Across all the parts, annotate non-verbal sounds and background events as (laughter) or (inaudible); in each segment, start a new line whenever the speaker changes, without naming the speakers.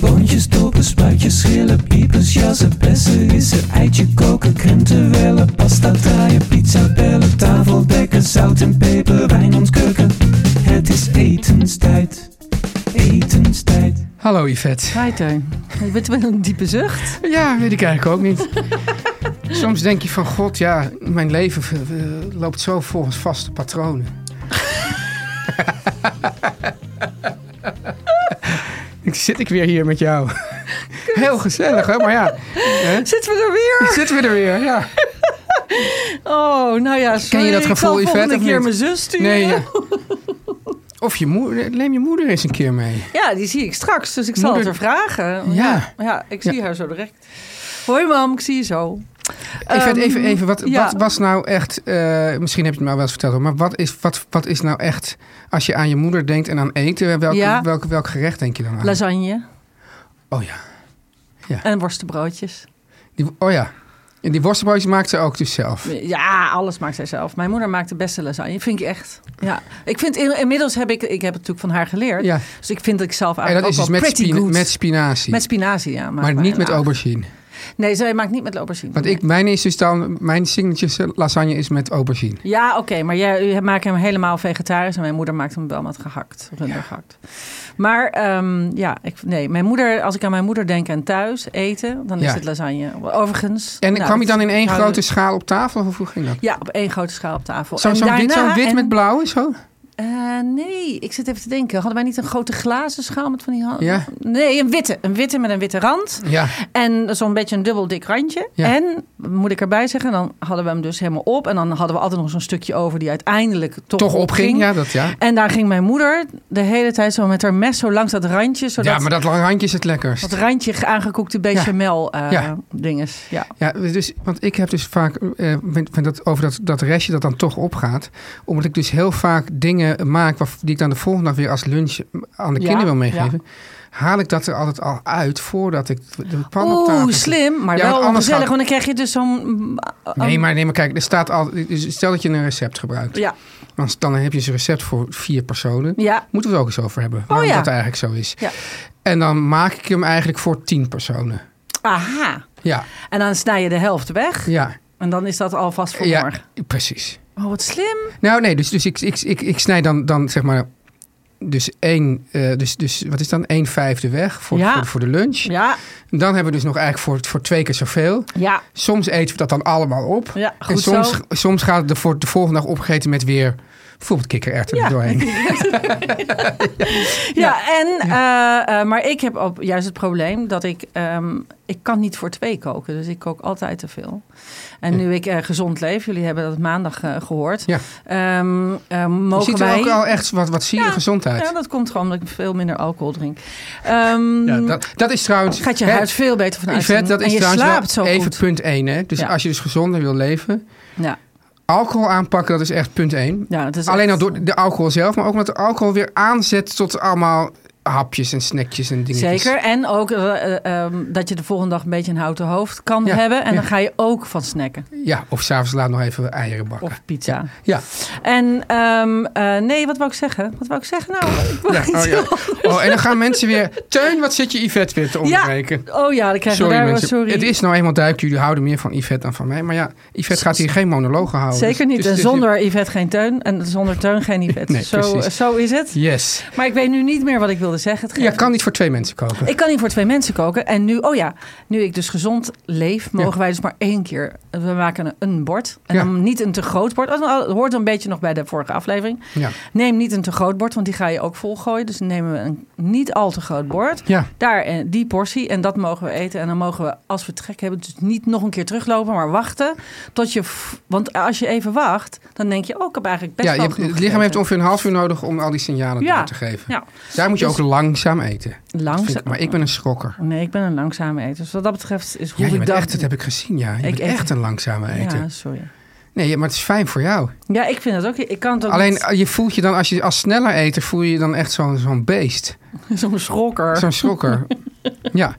Boontjes, dopen, spuitjes, schillen, piepers, jassen, bessen, rissen, eitje koken, krenten wellen, pasta draaien, pizza bellen, tafel dekken, zout en peper, wijn ontkurken. Het is etenstijd, etenstijd.
Hallo Yvette.
Hi Teun. Het wordt wel een diepe zucht.
Ja, weet ik eigenlijk ook niet. Soms denk je van, god ja, mijn leven eh, loopt zo volgens vaste patronen. (laughs) ik zit ik weer hier met jou. Heel gezellig, hè? Maar ja,
Zitten we er weer?
zitten we er weer, ja.
Oh, nou ja, sorry.
dat
ik
gevoel,
zal
Yvette,
volgende
of
keer
niet?
mijn zus sturen.
Nee, ja. Of je moeder, neem je moeder eens een keer mee.
Ja, die zie ik straks, dus ik zal
Moeder-
het haar vragen.
Ja.
Ja, ik zie haar zo direct. Hoi mam, ik zie je zo.
Yvette,
Ehm,
even, even wat,
ja.
wat was nou echt, eh, misschien heb je het me al wel eens verteld, hoor, maar wat is, wat, wat is nou echt, als je aan je moeder denkt en aan eten, welk,
Ja.
welk, welk gerecht denk je dan aan?
Lasagne
Oh ja.
en worstenbroodjes.
Die, oh ja. En die worstenbroodjes maakt ze ook dus zelf.
Ja, alles maakt zij zelf. Mijn moeder maakt de beste lasagne, vind ik echt. Ja. Ik vind, in- inmiddels heb ik, ik heb het natuurlijk van haar geleerd.
Ja.
Dus ik vind dat ik zelf
en
eigenlijk
dat is dus
ook wel
met,
pretty
spina-
good.
met spinazie.
Met spinazie, ja. maakt
maar
mijn
niet met
laag.
aubergine.
Nee, zij maakt niet met aubergine.
Want ik, mijn is dus dan, mijn signature lasagne is met aubergine.
Ja, oké, maar jij, jij maakt hem helemaal vegetarisch en mijn moeder maakt hem wel met gehakt, rundergehakt. Maar ehm, ja, ik, nee, mijn moeder, als ik aan mijn moeder denk en thuis eten, dan
Ja.
is het lasagne. Overigens.
En
nou,
kwam je dan in
dat-
één
nou,
grote schaal op tafel? Of hoe ging dat?
Ja, op één grote schaal op tafel.
Zo,
En
zo'n wit,
daarna-
zo'n wit
en-
met blauw, zo?
Eh, nee, ik zit even te denken. Hadden wij niet een grote glazen schaal met van die handen?
Ja.
Nee, een witte. Een witte met een witte rand.
Ja.
En zo'n beetje een dubbel dik randje.
Ja.
En, moet ik erbij zeggen, dan hadden we hem dus helemaal op. En dan hadden we altijd nog zo'n stukje over die uiteindelijk toch,
Toch opging,
opging.
ja, dat ja.
En daar ging mijn moeder de hele tijd zo met haar mes zo langs dat randje. Zodat
Ja, maar dat lange handje is het lekkerst.
dat randje aangekoekte bechamel eh
Ja.
dinges. Ja.
Ja, dus, want ik heb dus vaak eh, met, met dat, over dat, dat restje dat dan toch opgaat. Omdat ik dus heel vaak dingen maak waar, die ik dan de volgende dag weer als lunch aan de
Ja,
kinderen wil meegeven. Haal ik dat er altijd al uit voordat ik de pan op tafel
Oeh,
zet.
slim, Oh, maar
Ja, want
wel
anders
gezellig.
gaat-
Want dan krijg je dus zo'n...
Nee maar, nee, maar kijk, er staat al, dus stel dat je een recept gebruikt.
Ja.
Dan, dan heb je dus een recept voor vier personen.
Ja. Oh,
Moeten we het ook eens over hebben, waarom
ja.
dat eigenlijk zo is.
Ja.
En dan maak ik hem eigenlijk voor tien personen.
Aha.
Ja,
En dan snij je de helft weg.
ja,
En dan is dat alvast voor
ja
morgen.
precies.
Oh, wat slim.
Nou, nee, dus, dus ik, ik, ik, ik snij dan, dan zeg maar. Dus één, eh, dus, dus wat is dan? Een vijfde weg voor,
Ja.
voor, voor de lunch.
Ja,
En Dan hebben we dus nog eigenlijk voor, voor twee keer zoveel.
ja.
Soms eten we dat dan allemaal op.
Ja,
en
goed
soms,
zo.
soms gaat het er voor de volgende dag opgegeten met weer bijvoorbeeld kikkererwten er
Ja. (laughs)
doorheen.
Ja, en, eh, eh, maar ik heb ook juist het probleem dat ik, ehm, ik kan niet voor twee koken. Dus ik kook altijd te veel. En nu ik eh, gezond leef, jullie hebben dat maandag eh, gehoord.
Ja.
ehm, eh,
Je
mogen
ziet er
wij...
ook al echt wat, wat zie je
Ja,
gezond uit.
Ja, dat komt gewoon omdat ik veel minder alcohol drink. Ehm,
Ja, dat, dat is trouwens...
Gaat je
hè,
huid veel beter van
Yvette,
uitzien.
dat is
en je
trouwens wel
slaapt zo
even
goed.
punt één. Hè? Dus
Ja.
als je dus gezonder wil leven...
Ja.
Alcohol aanpakken, dat is echt punt één.
Ja, dat is
Alleen
echt-
al door de alcohol zelf, maar ook omdat de alcohol weer aanzet tot allemaal hapjes en snackjes en dingetjes.
Zeker. En ook eh, eh, ehm, dat je de volgende dag een beetje een houten hoofd kan
Ja,
hebben. En
ja.
dan ga je ook van snacken.
Ja, of s'avonds laat nog even eieren bakken.
Of pizza.
Ja.
En ehm, eh, nee, wat wou ik zeggen? Wat wou ik zeggen nou? Ik wou (laughs)
Ja,
iets
oh, ja.
heel anders.
Oh, en dan gaan mensen weer... Teun, wat zit je Yvette weer te onderbreken?
Oh ja, dan krijgen we
Sorry
daar wel
mensen,
sorry.
het is nou eenmaal duidelijk. Jullie houden meer van Yvette dan van mij. Maar ja, Yvette gaat hier geen monologen houden.
Zeker
Dus-
niet.
dus
en
het is-
zonder Yvette geen Teun. En zonder Teun geen Yvette.
Nee,
zo, eh,
precies.
zo is het.
Yes.
Maar ik weet nu niet meer wat ik wilde zeggen. Het
Ja,
geeft-
kan niet voor twee mensen koken.
Ik kan hier voor twee mensen koken. En nu, oh ja, nu ik dus gezond leef, mogen
Ja.
wij dus maar één keer. We maken een- een bord. En
Ja.
dan niet een te groot bord. Oh, Dat hoort een beetje nog bij de vorige aflevering.
Ja.
Neem niet een te groot bord, want die ga je ook volgooien. Dus nemen we een niet al te groot bord.
Ja.
Daar eh, die portie en dat mogen we eten. En dan mogen we, als we het gek hebben, dus niet nog een keer teruglopen, maar wachten tot je. f- Want als je even wacht, dan denk je, oh, ik heb eigenlijk best
Ja, je
wel
hebt,
genoeg
het lichaam heeft
gegeten.
ongeveer een half uur nodig om al die signalen
Ja.
door te geven.
Ja,
Daar moet je
Dus-
ook langzaam eten. Dat
Langzaam-
vind ik- maar ik ben een schrokker.
nee, ik ben een langzame eter. Dus wat dat betreft is
Ja,
hoe
je
ik
bent
dat.
echt, dat heb ik gezien, ja. Je
Ik
bent
eet-
echt een langzame eter.
Ja, sorry.
Nee, maar het is fijn voor jou.
Ja, ik vind dat ook. Ik kan het ook
Alleen
niet-
eh, je voelt je dan, als je als sneller eter, voel je je dan echt zo'n zo'n beest.
(laughs) zo'n schrokker.
Zo'n
(laughs)
schrokker. ja.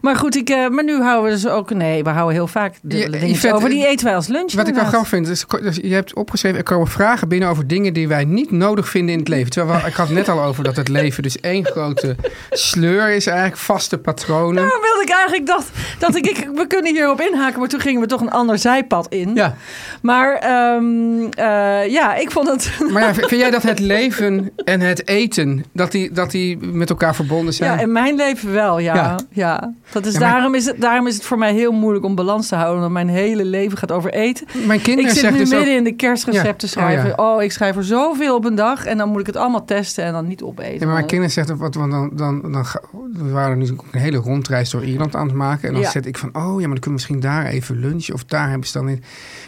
Maar goed, ik, eh, maar nu houden we dus ook... Nee, we houden heel vaak de
Ja,
dingen
Yvette,
over. Die
eh,
eten wij als lunch
Wat ik wel
inderdaad.
grappig vind, is, dus je hebt opgeschreven, er komen vragen binnen over dingen die wij niet nodig vinden in het leven. Terwijl we- ik had het net al over dat het leven dus één grote sleur is eigenlijk, vaste patronen.
Nou, wilde ik eigenlijk dat, dat ik, ik... We kunnen hierop inhaken, maar toen gingen we toch een ander zijpad in.
Ja,
Maar ehm, eh, ja, ik vond het... (laughs)
maar ja, vind jij dat het leven en het eten, dat die, dat die met elkaar verbonden zijn?
Ja, in mijn leven wel, ja.
Ja.
ja. Dat is,
Ja, maar-
daarom, is het, daarom is het voor mij heel moeilijk om balans te houden. Want mijn hele leven gaat over eten.
Mijn kinderen
Ik zit
zeggen
nu
dus ook-
midden in de kerstrecepten
Ja, oh ja.
schrijven. Oh, ik schrijf er zoveel op een dag. En dan moet ik het allemaal testen en dan niet opeten.
Ja, maar mijn
Maar-
kinderen zeggen, wat, want dan, dan, dan, ga- we waren nu ook een hele rondreis door Ierland aan het maken. En dan
Ja.
zet ik van, oh ja, maar dan kunnen we misschien daar even lunchen. Of daar hebben ze dan in.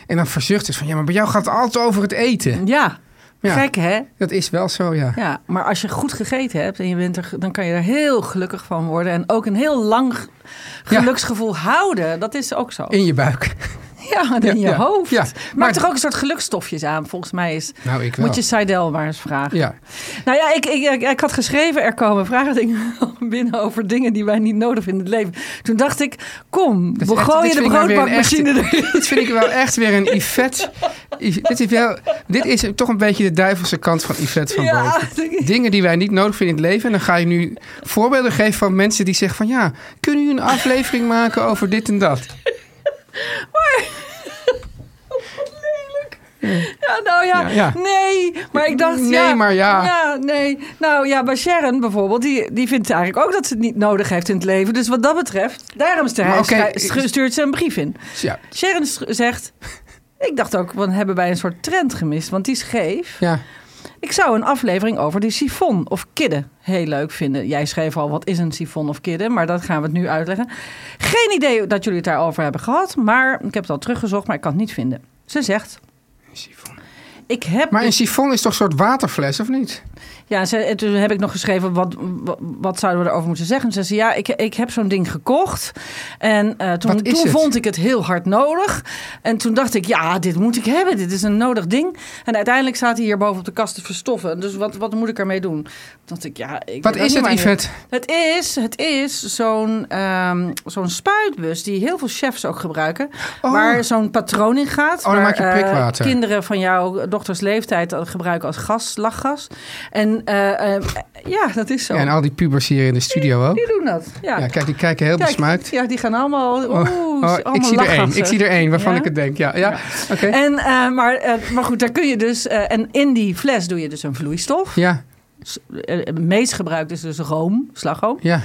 En dan verzucht het van, ja, maar bij jou gaat het altijd over het eten.
Ja,
Ja.
gek hè?
Dat is wel zo, ja.
Ja, maar als je goed gegeten hebt en je bent er, dan kan je er heel gelukkig van worden. En ook een heel lang g-
Ja.
geluksgevoel houden. Dat is ook zo.
In je buik.
ja, en
Ja,
in je
ja,
hoofd.
ja.
Maakt
Maar-
toch ook een soort gelukstofjes aan, volgens mij is.
Nou, ik wel.
Moet je Seidel maar eens vragen.
Ja.
Nou ja, ik, ik, ik, ik had geschreven, er komen vragen (laughs) dingen binnen over dingen die wij niet nodig vinden in het leven. Toen dacht ik, kom,
Dat
we
is echt-
gooien
dit
de
vind ik nou weer een echte-
broodbakmachine erin.
Dit vind ik wel echt weer een Yvette. Yv- Dit is, wel, dit is toch een beetje de duivelse kant van Yvette van
Ja,
boven.
(laughs) ik-
Dingen die wij niet nodig vinden in het leven. En dan ga je nu voorbeelden geven van mensen die zeggen van... ja, kunnen jullie een aflevering maken over dit en dat?
Ja, nou
Ja,
ja,
ja.
nee. Maar ik dacht,
Nee,
ja,
maar ja.
Ja, nee. Nou ja, bij Sharon bijvoorbeeld, die, die vindt eigenlijk ook dat ze het niet nodig heeft in het leven. Dus wat dat betreft, daarom stu-
Maar oké,
stu- stu- stuurt ze een brief in.
Dus Ja,
Sharon stu- zegt, ik dacht ook, wat hebben wij een soort trend gemist? Want die is scheef.
ja.
Ik zou een aflevering over de sifon of kidden heel leuk vinden. Jij schreef al, wat is een sifon of kidden? Maar dat gaan we het nu uitleggen. Geen idee dat jullie het daarover hebben gehad. Maar ik heb het al teruggezocht, maar ik kan het niet vinden. Ze zegt, ik heb...
Maar een
dus-
sifon is toch een soort waterfles, of niet?
ja, ze, en toen heb ik nog geschreven, wat, wat, wat zouden we erover moeten zeggen? Ze zei, ja, ik, ik heb zo'n ding gekocht. En eh, toen,
Wat is
toen
het?
vond ik het heel hard nodig. En toen dacht ik, ja, dit moet ik hebben. Dit is een nodig ding. En uiteindelijk staat hij hier boven op de kast te verstoffen. Dus wat, wat moet ik ermee doen? Toen dacht ik, ja... Ik
Wat
weet ook
is
niet
het,
wanneer-
Yvette?
Het is, het is zo'n ehm, zo'n spuitbus die heel veel chefs ook gebruiken.
Oh.
Waar zo'n patroon in gaat.
Oh, dan
waar,
maak je
eh,
prikwater.
kinderen van jouw dochters leeftijd dat gebruiken als gas, lachgas. En eh, eh, ja, dat is zo.
Ja, en al die pubers hier in de studio ook.
Die doen dat. Ja,
Ja, kijk, die kijken heel
Kijk,
besmuikt.
Ja, die gaan allemaal. Oeh,
Oh,
allemaal
ik zie er één.
lachgassen.
Ik zie er één waarvan
Ja?
ik het denk. Ja, ja. oké.
En, eh, maar, eh, maar goed, daar kun je dus. eh, en in die fles doe je dus een vloeistof.
Ja,
S- eh, Het meest gebruikt is dus room, slagroom.
ja.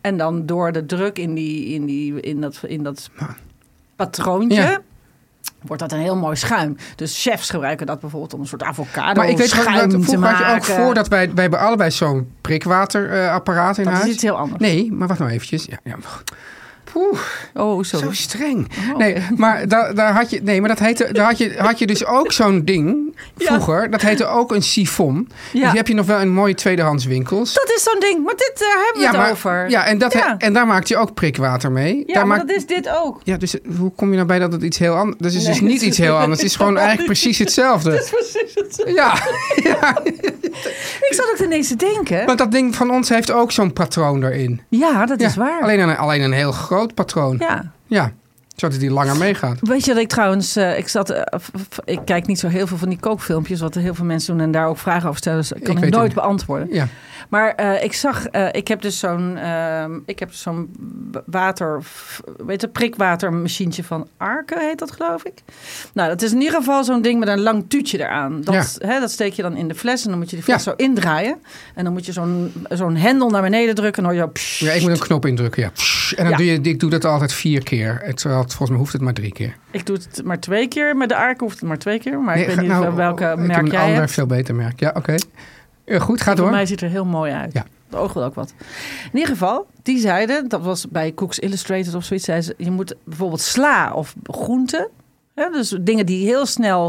En dan door de druk in, die, in, die, in dat, in dat patroontje.
Ja.
Wordt dat een heel mooi schuim. Dus chefs gebruiken dat bijvoorbeeld om een soort avocado
Maar ik weet
schuim
gewoon dat
te
vroeger had
maken.
je ook voordat wij, wij hebben allebei zo'n prikwaterapparaat in
Dat is
huis.
iets heel anders.
Nee, maar wacht nou eventjes. Ja, ja. Poeh,
Oh,
zo
sorry.
streng.
Oh.
Nee, maar daar, daar had je, nee, maar dat heette, daar had je, had je dus ook zo'n ding
Ja.
vroeger. Dat heette ook een sifon.
Ja.
Dus die heb je nog wel in mooie tweedehands winkels.
Dat is zo'n ding. Maar dit, daar hebben we het
maar,
over.
Ja, en, dat,
Ja.
en daar maakte je ook prikwater mee.
Ja,
daar
maar
maakt-
dat is dit ook. (laughs)
ja, dus hoe kom je nou bij dat het iets heel anders is? Het is
Nee.
dus niet (laughs)
(laughs)
iets heel anders. Het is gewoon eigenlijk precies hetzelfde.
Precies.
Ja, ja.
Ik ik zat ook ineens te denken.
Want dat ding van ons heeft ook zo'n patroon erin.
ja, dat
Ja,
is waar.
Alleen een, alleen een heel groot patroon. Ja.
Ja.
zodat die langer meegaat.
Weet je dat ik trouwens, eh, ik zat, eh, f- f- ik kijk niet zo heel veel van die kookfilmpjes, wat heel veel mensen doen en daar ook vragen over stellen. Dus ik kan
Ik
ik
weet het
nooit
niet.
beantwoorden.
Ja.
Maar eh, ik zag, eh, ik heb dus zo'n, ehm, ik heb zo'n b- water, f- weet je, prikwatermachientje van Arke heet dat geloof ik. Nou, dat is in ieder geval zo'n ding met een lang tuutje eraan. Dat, hè, dat steek je dan in de fles en dan moet je die fles
Ja.
zo indraaien. En dan moet je zo'n, zo'n hendel naar beneden drukken en dan hoor je zo,
ja, ik moet een knop indrukken. Ja. Pssst. En dan
Ja.
doe je, ik doe dat altijd vier keer. Het, terwijl het- volgens mij hoeft het maar drie keer.
Ik doe het maar twee keer. Met de ARK hoeft het maar twee keer. Maar ik
Nee,
weet
ga-
niet
nou,
wel welke
ik heb
merk
een
jij
ander
hebt.
veel beter merk. Ja, oké. Eh, goed, gaat
Voor
door.
mij ziet er heel mooi uit.
Ja.
Het oog wil ook wat. In ieder geval, die zeiden, dat was bij Cooks Illustrated of zoiets, zeiden ze, je moet bijvoorbeeld sla of groenten, hè, dus dingen die heel snel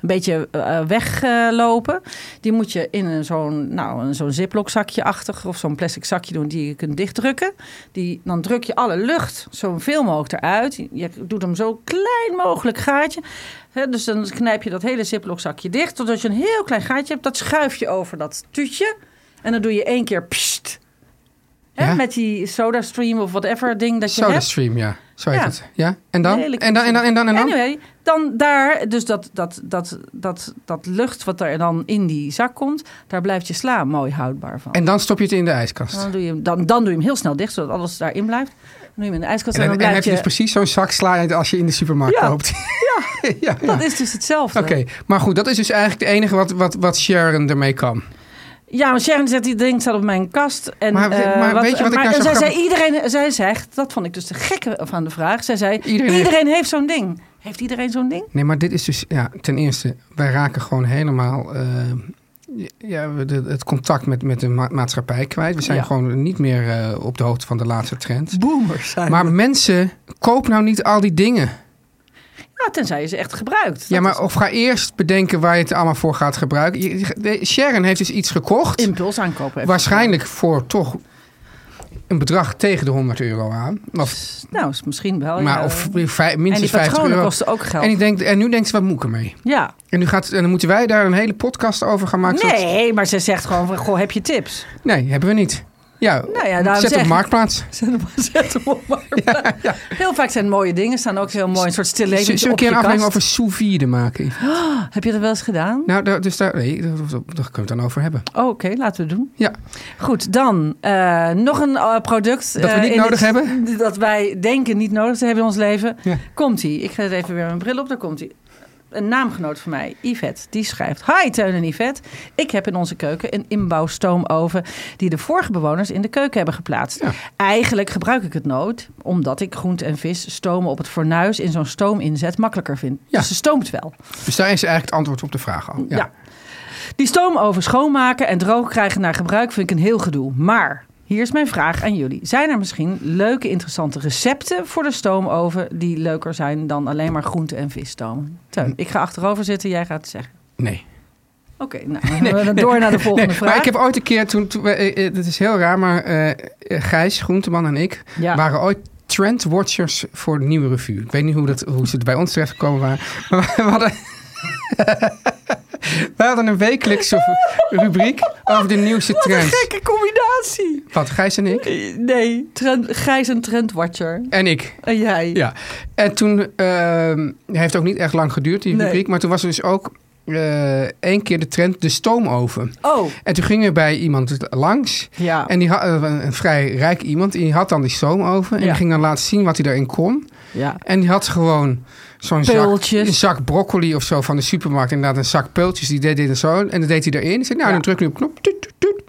een beetje eh, weglopen, die moet je in een zo'n nou, een zo'n ziplock zakje-achtig of zo'n plastic zakje doen die je kunt dichtdrukken. Die, dan druk je alle lucht zoveel mogelijk eruit. Je doet hem zo klein mogelijk gaatje. Hè, dus dan knijp je dat hele ziplock zakje dicht, totdat je een heel klein gaatje hebt. Dat schuif je over dat tuutje. En dan doe je één keer pst. Hè,
Ja.
Met die SodaStream of whatever ding dat je hebt.
SodaStream, ja. Zo heet
Ja.
het. Ja. En dan?
Lelijk.
En dan, en dan, en dan, en dan?
Anyway, dan daar, dus dat, dat, dat, dat, dat lucht wat er dan in die zak komt, daar blijft je sla mooi houdbaar van.
En dan stop je het in de ijskast.
En dan, doe je hem, dan, dan doe je hem heel snel dicht, zodat alles daarin blijft. Dan doe je hem in de ijskast en,
En,
dan
dan, en
blijft
heb je
je...
dus precies zo'n zak sla als je in de supermarkt
Ja.
(laughs) koopt. Ja, ja,
Dat is dus hetzelfde.
Oké, maar goed, dat is dus eigenlijk het enige wat, wat, wat Sharon ermee kan.
Ja, maar Sharon zegt, die ding staat op mijn kast. En,
Maar-
eh,
maar weet je wat ik nou
en
zo
zij zei,
grappig-
iedereen, zij zegt, dat vond ik dus de gekke van de vraag. Zij zei,
Iedereen
iedereen,
heeft-
heeft zo'n ding. Heeft iedereen zo'n ding?
Nee, maar dit is dus, ja, ten eerste, wij raken gewoon helemaal eh, ja, we- de- het contact met, met de ma- maatschappij kwijt. We zijn
Ja.
gewoon niet meer eh, op de hoogte van de laatste trend.
Boomers zijn.
Maar mensen, koop nou niet al die dingen.
Ja, tenzij je ze echt gebruikt. Dat
ja,
is
maar of ga eerst bedenken waar je het allemaal voor gaat gebruiken. Je- je- de- Sharon heeft dus iets gekocht.
impuls aankopen. even.
waarschijnlijk voor toch een bedrag tegen de 100 euro aan. Of,
Nou, is misschien wel.
maar,
ja.
of vij-
en die
minstens 50
patronen
euro.
kosten ook geld.
En, ik denk, en nu denkt ze, wat moet ik ermee?
Ja.
En, nu gaat, en dan moeten wij daar een hele podcast over gaan maken. zodat-
Nee, maar ze zegt gewoon: van, Goh, heb je tips?
nee, hebben we niet. Ja,
Nou, ja, daarom
zet
zeg
op
ik-
Marktplaats.
(laughs) Zet hem, zet hem op.
(laughs)
Maar. Heel vaak zijn het mooie dingen, staan ook heel mooi, een soort stille
Zullen we een keer een aflevering over sous vide maken?
Heb je dat wel eens gedaan?
Nou, daar, dus daar, nee, daar, daar kunnen we het dan over hebben.
Oh, Oké, laten we doen.
Ja,
Goed, dan eh, nog een eh, product.
Dat we
eh,
niet
in
nodig
dit-
hebben?
Dat wij denken niet nodig te hebben in ons leven.
Ja.
Komt-ie. Ik zet even weer mijn bril op, daar komt-ie. Een naamgenoot van mij, Yvette, die schrijft... Hi Teun en Yvette, ik heb in onze keuken een inbouwstoomoven... die de vorige bewoners in de keuken hebben geplaatst.
Ja.
Eigenlijk gebruik ik het nooit... omdat ik groente en vis stomen op het fornuis... in zo'n stoominzet makkelijker vind.
Ja.
Dus ze stoomt wel.
dus daar is eigenlijk het antwoord op de vraag al.
Ja. Die stoomoven schoonmaken en droog krijgen naar gebruik vind ik een heel gedoe. Maar hier is mijn vraag aan jullie. Zijn er misschien leuke, interessante recepten voor de stoomoven die leuker zijn dan alleen maar groente en vis stomen? Teun, ik ga achterover zitten, jij gaat het zeggen.
Nee.
Oké, nou, dan gaan we dan door naar de volgende
Nee,
vraag.
Maar ik heb ooit een keer, toen, toen we- eh, eh, dat is heel raar, maar eh, eh, Gijs, Groenteman en ik
Ja.
waren ooit trendwatchers voor de Nieuwe Revue. Ik weet niet hoe, dat, hoe ze er bij ons terecht gekomen waren. (laughs) Maar we hadden, we hadden een wekelijkse rubriek over de nieuwste
Wat een
trends.
gekke combinatie.
Wat, Gijs en ik?
Eh, Nee, trend, Gijs een trendwatcher.
En ik.
En jij.
Ja. En toen ehm heeft ook niet echt lang geduurd, die
Nee.
rubriek. Maar toen was er dus ook eh, één keer de trend de stoomoven.
Oh,
En toen gingen we bij iemand langs.
ja.
En die had, eh, een, een vrij rijk iemand. En die had dan die stoomoven. En
Ja.
die ging dan laten zien wat hij daarin kon.
ja.
En die had gewoon zo'n zak,
Peultjes.
een zak broccoli of zo van de supermarkt. Inderdaad, een zak peultjes. Die deed dit en zo. En dat deed hij erin. Ik zei, nou,
Ja.
dan druk nu op knop. Tuut, tuut, tuut.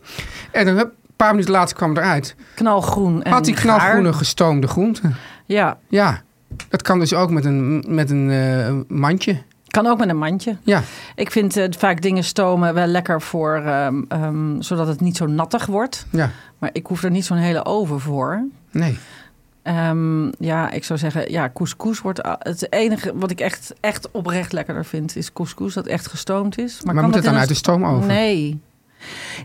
En dan, hup, een paar minuten later kwam het eruit.
Knalgroen en
Had hij knalgroene
gaar.
gestoomde groenten.
Ja,
Ja, dat kan dus ook met een, met een eh, mandje.
kan ook met een mandje.
Ja,
Ik vind eh, vaak dingen stomen wel lekker voor, ehm, ehm, zodat het niet zo nattig wordt.
ja,
Maar ik hoef er niet zo'n hele oven voor.
nee.
Ehm, ja, ik zou zeggen, ja, couscous wordt a- het enige wat ik echt, echt oprecht lekkerder vind, is couscous dat echt gestoomd is.
Maar,
kan
moet het
in
dan
een
uit de stoomoven?
Nee.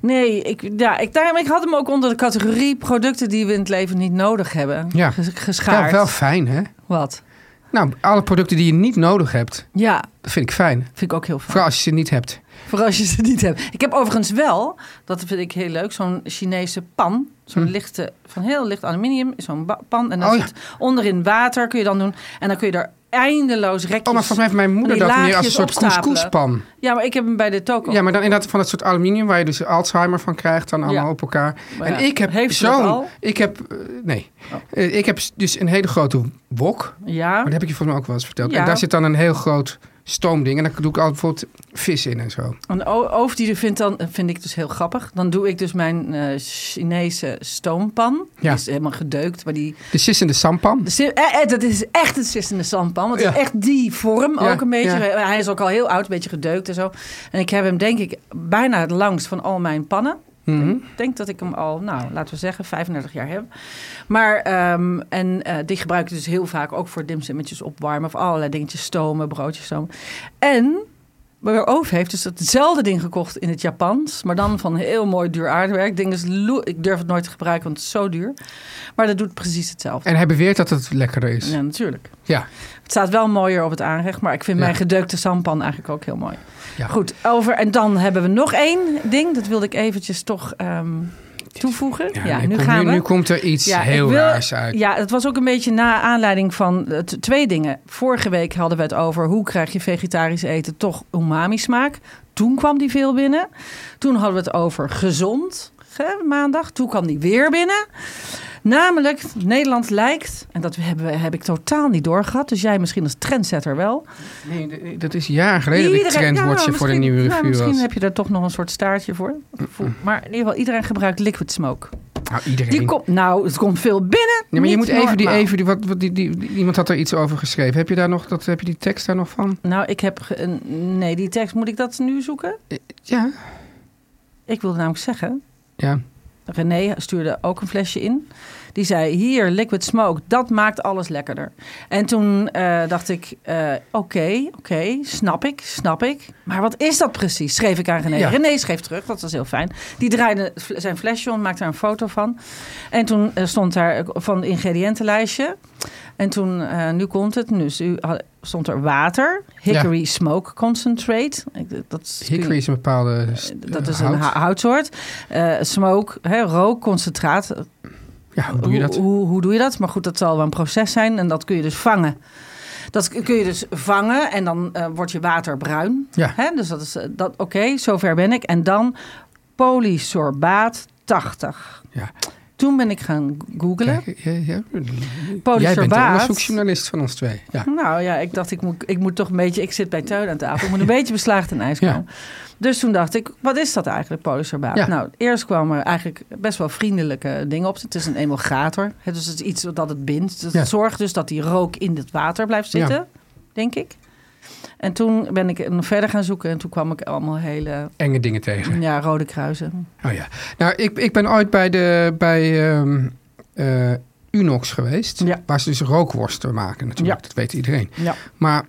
Nee, ik, ja, ik, daarom, ik had hem ook onder de categorie producten die we in het leven niet nodig hebben.
Ja.
ges- Geschaard.
Ja, Nou, wel fijn, hè?
Wat?
Nou, alle producten die je niet nodig hebt,
Ja,
dat vind ik fijn.
vind ik ook heel fijn.
Vooral als je ze niet hebt.
Voor als je ze niet hebt. Ik heb overigens wel, dat vind ik heel leuk, zo'n Chinese pan. Zo'n lichte, van heel licht aluminium, is zo'n ba- pan. En dan
Hm. Oh ja.
zit onderin water, kun je dan doen. En dan kun je er eindeloos rekjes...
Oh, maar volgens mij heeft mijn moeder
van die
dat meer als een
laagjes
soort
opstapelen.
couscouspan.
Ja, maar ik heb hem bij de toko.
Ja, maar dan inderdaad van dat soort aluminium waar je dus Alzheimer van krijgt, dan allemaal
Ja.
op elkaar.
Maar
en
ja,
ik heb
heeft ze dat
zo'n.
al? Oh.
Ik heb. eh, nee. Eh, ik heb s- dus een hele grote wok.
Ja.
Maar dat heb ik je volgens mij ook wel eens verteld.
Ja.
En daar zit dan een heel groot stoomding. En daar doe ik al bijvoorbeeld vis in en zo.
Een o- oof die vindt dan, vind ik dus heel grappig. Dan doe ik dus mijn eh, Chinese stoompan.
Ja.
Die is helemaal gedeukt, maar die...
De sis in de sampan.
de si- eh, eh, dat is echt het sissende zandpan. Want het
Ja.
is echt die vorm
Ja,
ook een beetje.
ja.
Hij is ook al heel oud, een beetje gedeukt en zo. En ik heb hem denk ik bijna het langst van al mijn pannen.
Mhm.
Ik denk dat ik hem al, nou, laten we zeggen, 35 jaar heb. Maar, ehm, en eh, die gebruik ik dus heel vaak ook voor dimsummetjes opwarmen... of allerlei dingetjes stomen, broodjes stomen. En maar Oof heeft dus hetzelfde ding gekocht in het Japans. Maar dan van heel mooi duur aardewerk. Ding is loe- ik durf het nooit te gebruiken, want het is zo duur. Maar dat doet precies hetzelfde.
En hij beweert dat het lekkerder is.
Ja, natuurlijk.
Ja.
Het staat wel mooier op het aanrecht. Maar ik vind
Ja.
mijn gedeukte sampan eigenlijk ook heel mooi.
Ja.
Goed, over. En dan hebben we nog één ding. Dat wilde ik eventjes toch ehm, toevoegen. Ja,
Ja, nee,
nu
kom-
gaan we.
nu komt er iets
Ja,
heel
ik wil-
raars uit.
Ja, het was ook een beetje na aanleiding van eh, t- twee dingen. Vorige week hadden we het over hoe krijg je vegetarisch eten toch umami smaak. Toen kwam die veel binnen. Toen hadden we het over gezond hè, maandag. Toen kwam die weer binnen. Namelijk, Nederland lijkt, en dat hebben, we- heb ik totaal niet doorgehad. Dus jij misschien als trendsetter wel.
Nee, d- dat is jaren geleden dat ik
Iedereen-
trendwatcher
nou,
voor de
misschien-
nieuwe
nou,
review
misschien
was.
heb je daar toch nog een soort staartje voor. Voel- Maar in ieder geval, iedereen gebruikt liquid smoke.
Nou, iedereen.
Die komt, nou, het komt veel binnen.
Nee, maar je
Niet
moet even die,
normaal.
even die, wat, wat die, die, die- iemand had er iets over geschreven. Heb je daar nog, dat, heb je die tekst daar nog van?
Nou, ik heb. ge- een- nee, die tekst moet ik dat nu zoeken?
Ja.
Ik wilde namelijk zeggen.
Ja.
René stuurde ook een flesje in. Die zei: Hier, liquid smoke, dat maakt alles lekkerder. En toen eh, dacht ik: eh, Oké, oké, snap ik, snap ik. Maar wat is dat precies? Schreef ik aan René.
Ja.
René schreef terug, dat was heel fijn. Die draaide fl- zijn flesje om, maakte daar een foto van. En toen eh, stond daar eh, van ingrediëntenlijstje. En toen, eh, nu komt het, nu is u- had- stond er water, hickory smoke concentrate. Ik- Dat is, kun je-
Hickory is een bepaalde s-
Eh, dat is
hout.
een hou- houtsoort. Eh, smoke, hè, rook, concentraat.
Ja, hoe doe je dat?
Hoe, hoe, hoe doe je dat? Maar goed, dat zal wel een proces zijn en dat kun je dus vangen. Dat k- kun je dus vangen en dan eh, wordt je water bruin.
Ja.
Hè? Dus dat is eh, dat. Oké, zover ben ik. En dan polysorbaat 80.
Ja.
Toen ben ik gaan googlen.
Kijk, ja, ja. Jij bent de
Polysorbaat.
onderzoeksjournalist van ons twee. Ja.
Nou ja, ik dacht, ik moet, ik moet toch een beetje... Ik zit bij Teun aan tafel. Ik moet een beetje beslaagd en ijs
Ja.
komen. Dus toen dacht ik, wat is dat eigenlijk, polysorbaat?
Ja.
Nou, eerst kwamen er eigenlijk best wel vriendelijke dingen op. Het is een emulgator. hè, Dus het is iets dat het bindt. Dus
Ja.
Het zorgt dus dat die rook in het water blijft zitten,
Ja.
denk ik. En toen ben ik nog verder gaan zoeken. En toen kwam ik allemaal hele
Enge dingen tegen.
ja, rode kruisen.
Oh ja. Nou, ik, ik ben ooit bij, de, bij ehm, eh, Unox geweest.
Ja.
Waar ze dus rookworsten maken natuurlijk.
Ja.
Dat weet iedereen.
Ja.
Maar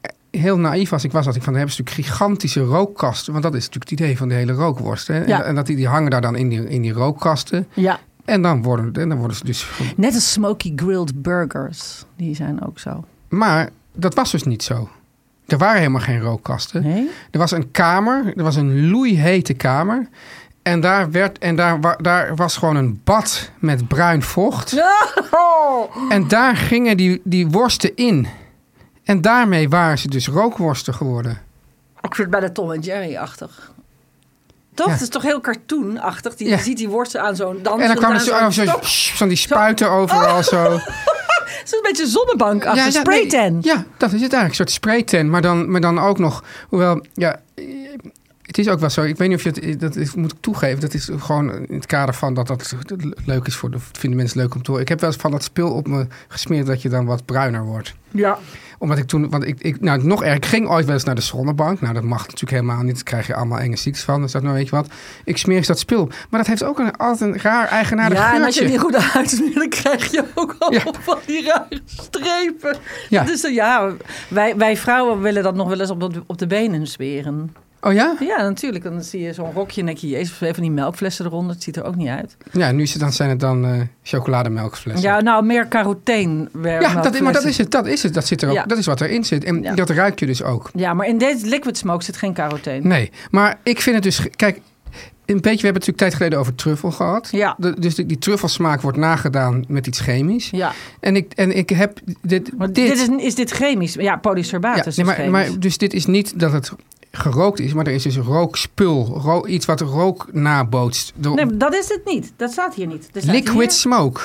eh, heel naïef als ik was, had ik van... hebben ze natuurlijk gigantische rookkasten. Want dat is natuurlijk het idee van de hele rookworst. Hè? En-
Ja.
En, dat die, die hangen daar dan in die, in die rookkasten.
ja.
En dan worden, en dan worden ze dus...
Net als smoky grilled burgers. Die zijn ook zo.
Maar dat was dus niet zo. Er waren helemaal geen rookkasten.
Nee?
Er was een kamer, er was een loeihete kamer. En daar, werd, en daar, wa- daar was gewoon een bad met bruin vocht.
(laughs) Oh!
En daar gingen die, die worsten in. En daarmee waren ze dus rookworsten geworden.
Ik vind het bijna Tom en Jerry-achtig. Toch?
Ja.
Het is toch heel cartoon-achtig? Die,
Ja.
je ziet die worsten aan zo'n dans.
En dan kwamen
aan
ze
zo'n
oh, zo,
stok.
sh- van die spuiten overal zo. Oh.
Het is een beetje zonnebank-achtig.
nee,
Spraytan.
ja, dat is het eigenlijk. Een soort spraytan. Maar dan, maar dan ook nog... Hoewel, ja... eh, Het is ook wel zo. Ik weet niet of je het... Dat is, moet ik toegeven. Dat is gewoon in het kader van dat dat leuk is voor... De, vinden mensen leuk om te horen. Ik heb wel eens van dat spul op me gesmeerd... dat je dan wat bruiner wordt.
Ja.
Omdat ik toen... Want ik, ik, nou, nog erg. Ik ging ooit wel eens naar de zonnebank. Nou, dat mag natuurlijk helemaal niet. Daar krijg je allemaal enge ziektes van. Dus dat nou weet je wat. Ik smeer eens dat spul op. Maar dat heeft ook een, altijd een raar eigenaardig
ja, en als je
geurtje.
die goede uitsmeert, (laughs) dan krijg je ook al
Ja.
van die rare strepen. eh,
Ja.
Dus ja, wij, wij vrouwen willen dat nog wel eens op de, op de benen smeren.
Oh ja?
Ja, natuurlijk. Dan zie je zo'n rokje en denk je, jezus, even die melkflessen eronder. Het ziet er ook niet uit.
Ja, nu is het dan, zijn het dan eh chocolademelkflessen.
Ja, nou, meer carotene. weer
Ja, dat, maar dat
melkflessen.
is het. Dat is het. Dat, zit er ook,
Ja.
dat is wat erin zit. En
Ja.
dat ruik je dus ook.
Ja, maar in deze liquid smoke zit geen carotene.
Nee, maar ik vind het dus... ge- Kijk, een beetje... We hebben het natuurlijk tijd geleden over truffel gehad.
Ja.
De- dus die, die truffelsmaak wordt nagedaan met iets chemisch.
Ja,
En, ik, en ik heb dit...
maar dit, is, is dit chemisch? Ja, polysorbaat
Ja,
is
nee,
dus
maar,
chemisch.
maar dus dit is niet dat het gerookt is, maar er is dus een rookspul. Ro- iets wat rook nabootst. Door
Nee, maar dat is het niet. Dat staat hier niet. Er staat
liquid
hier-
smoke.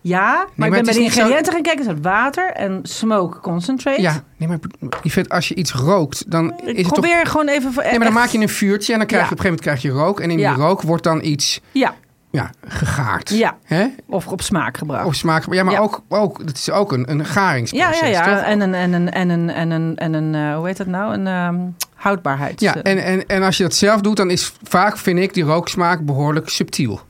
Ja, maar,
maar
ik
het is
ben bij de
niet zo-
ingrediënten gaan kijken. Er staat water en smoke concentrate.
Ja, nee, maar Yvette, als je iets rookt, dan
Ik
is het toch...
probeer gewoon even... voor-
Nee, maar dan
echt-
maak je een vuurtje en dan krijg je
Ja.
op een gegeven moment krijg je rook. En in
Ja.
die rook wordt dan iets
Ja,
ja, gegaard.
Ja.
Hè?
of op smaak gebracht.
Of smaak. Ja, maar
Ja.
Ook, ook, het is ook een, een
ja,
garingsproces,
ja, ja.
toch?
En een, en een, en een, en een, en een eh, hoe heet dat nou? Een ehm, houdbaarheid. Eh,
ja en, en, en als je dat zelf doet, dan is vaak, vind ik, die rooksmaak behoorlijk subtiel.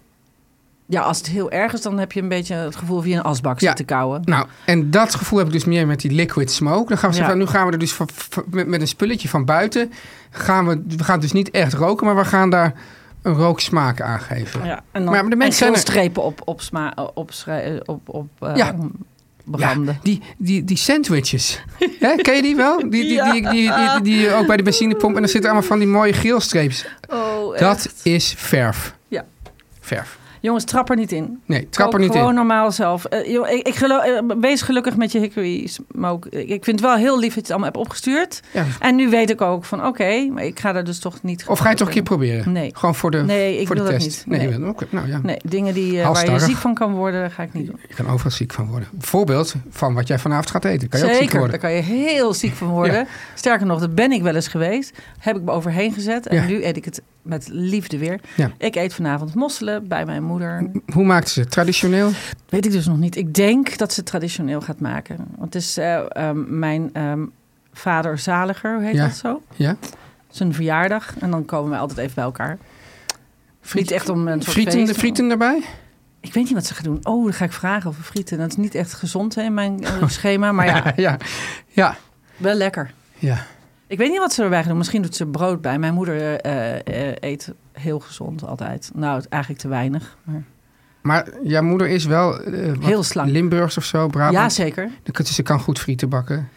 ja, als het heel erg is, dan heb je een beetje het gevoel van je een asbak
Ja.
zit te kouwen.
Nou, en dat gevoel heb ik dus meer met die liquid smoke. Dan gaan we
Ja.
zeggen, nu gaan we er dus van- van- met, met een spulletje van buiten... Gaan we, we gaan het dus niet echt roken, maar we gaan daar een rooksmaak aan geven.
Ja, en dan,
Maar de mensen
en
zijn er-
strepen op, op, sma, op, schrij- op, op eh,
Ja.
branden.
die, die, die
(laughs)
sandwiches. Hè, ken je die wel? Die, die, die, die, die, die, die ook bij de benzinepomp. En dan zitten allemaal van die mooie geelstreepjes.
Oh,
Dat is verf.
Ja.
Verf.
Jongens, trap er niet in.
Nee, trap er
Kook
niet
gewoon
in.
normaal zelf. Eh, joh, ik, ik geloof, eh, wees gelukkig met je hickory smoke. Ik ik vind het wel heel lief dat je het allemaal hebt opgestuurd.
Ja.
En nu weet ik ook van oké, maar ik ga er dus toch niet...
Of ga je het toch een keer proberen?
Nee.
Gewoon voor de,
Nee, ik
voor de
wil dat
test.
niet.
Nee,
Nee.
je wil- oké, nou ja.
Nee, dingen die, eh, waar je
Halstarrig.
ziek van kan worden, ga ik niet doen.
Je kan overal ziek van worden. Bijvoorbeeld van wat jij vanavond gaat eten. Kan je ook ziek
Zeker, daar
worden.
kan je heel ziek van worden.
(laughs) Ja.
Sterker nog, dat ben ik wel eens geweest. Heb ik me overheen gezet en
Ja.
nu eet ik het met liefde weer.
Ja.
Ik eet vanavond mosselen bij mijn moeder.
Hoe maakt ze het? Traditioneel?
Weet ik dus nog niet. Ik denk dat ze het traditioneel gaat maken. Want het is eh, ehm, mijn ehm, vader zaliger, hoe heet
Ja.
dat zo?
Ja?
Zijn verjaardag. En dan komen we altijd even bij elkaar. Niet echt om een soort
Frieten,
feest.
frieten erbij?
Ik weet niet wat ze gaan doen. Oh, dan ga ik vragen over frieten. Dat is niet echt gezond hè, in mijn eh, (laughs) schema, maar ja,
(laughs) ja. Ja.
wel lekker.
Ja.
Ik weet niet wat ze erbij gaan doen. Misschien doet ze brood bij. Mijn moeder eh, eh, eet heel gezond altijd. Nou, het- eigenlijk te weinig. Maar...
Maar jouw moeder is wel... eh, wat
Heel slank.
Limburgs of zo, Brabant.
Ja, zeker.
Dus ze kan goed frieten bakken.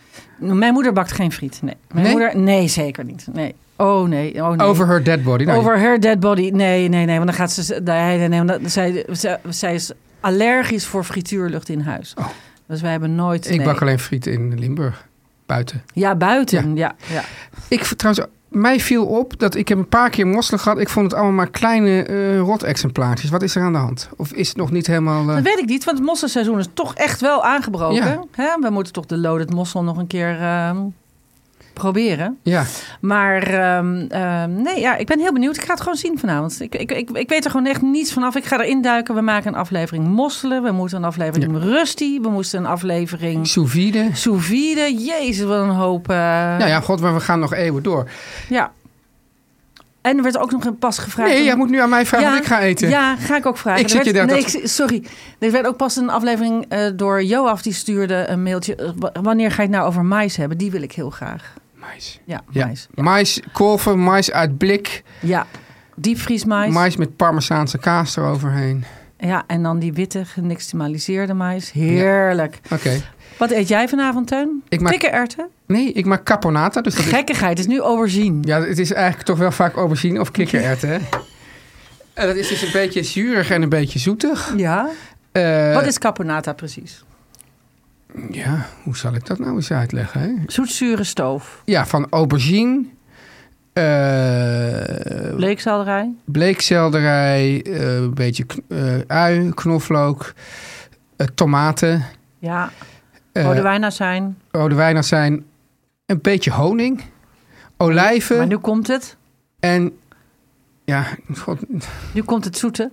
Oh, Mijn moeder bakt geen friet. Nee. Mijn
Nee?
moeder? Nee, zeker niet. Nee. Oh nee. Oh, nee.
Over her dead body. Nou,
Over her dead body. Nee, nee, nee. Want dan gaat ze. Nee, nee, nee, want dat- zij, zij, zij is allergisch voor frituurlucht in huis.
Oh.
Dus wij hebben nooit.
Ik
nee.
bak alleen frieten in Limburg. Buiten.
Ja, buiten. Ja. ja,
Ik v- trouwens, mij viel op dat ik heb een paar keer mosselen gehad. Ik vond het allemaal maar kleine eh rot-exemplaartjes. Wat is er aan de hand? Of is het nog niet helemaal... eh,
Dat weet ik niet, want het mosselseizoen is toch echt wel aangebroken.
Ja.
Hè? We moeten toch de loaded mossel nog een keer ehm, proberen.
ja,
Maar ehm, ehm, nee, ja, ik ben heel benieuwd. Ik ga het gewoon zien vanavond. Ik, ik, ik, ik weet er gewoon echt niets vanaf. Ik ga erin duiken. We maken een aflevering mosselen. We moeten een aflevering rusty. We moesten een aflevering
sous vide.
sous vide. Jezus, wat een hoop. eh,
Nou ja, god, maar we gaan nog eeuwen door.
ja. En er werd ook nog een pas gevraagd.
Nee,
om-
jij moet nu aan mij vragen wat ik ga eten.
Ja, ga ik ook vragen.
Ik
Er
zit
werd-
hier daar
nee,
dat-
ik- sorry. Er werd ook pas een aflevering eh, door Joaf. Die stuurde een mailtje. eh, w- Wanneer ga je het nou over mais hebben? Die wil ik heel graag.
Mais.
Ja,
Ja.
mais.
Mais, kolven, mais uit blik.
Ja, diepvriesmais.
Mais met parmezaanse kaas eroverheen.
Ja, en dan die witte genixtamaliseerde mais. Heerlijk.
Oké.
Wat eet jij vanavond, Teun?
Ik maak-
Kikkererwten?
Nee, ik maak caponata. Dus dat is-
Gekkigheid, het is nu overzien.
Ja, het is eigenlijk toch wel vaak aubergine of kikkererwten, hè? En dat is dus een beetje zuurig en een beetje zoetig.
Ja?
Eh,
Wat is caponata precies?
Ja, hoe zal ik dat nou eens uitleggen? Hè?
Zoetzure stoof,
Ja, van aubergine, eh,
bleekselderij,
bleekselderij, eh, een beetje kn- eh, ui, knoflook, eh, tomaten,
ja,
eh,
rode wijnazijn.
rode wijnazijn, een beetje honing,
Maar
olijven
nu komt het.
en... Ja, god,
Nu komt het zoete.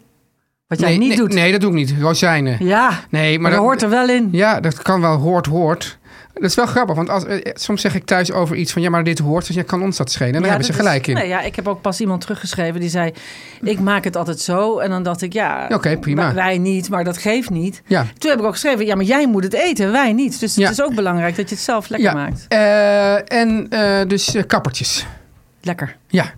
Wat jij
nee,
niet
nee,
doet.
Nee, dat doe ik niet. Rozijnen.
Ja, maar,
Nee, maar,
dat
dat-
hoort er wel in.
Ja, dat kan wel hoort, hoort. Dat is wel grappig, want als, eh, soms zeg ik thuis over iets van... ja, maar dit hoort, dus jij kan ons dat schelen. En daar
Ja,
hebben ze
dat is-
gelijk in.
Nee, ja, ik heb ook pas iemand teruggeschreven die zei... ik maak het altijd zo. En dan dacht ik, ja,
Ja, oké, prima.
wij- wij niet, maar dat geeft niet.
Ja.
Toen heb ik ook geschreven, ja, maar jij moet het eten, wij niet. Dus
Ja.
het is ook belangrijk dat je het zelf lekker maakt.
eh, en eh, dus eh, kappertjes.
Lekker.
Ja,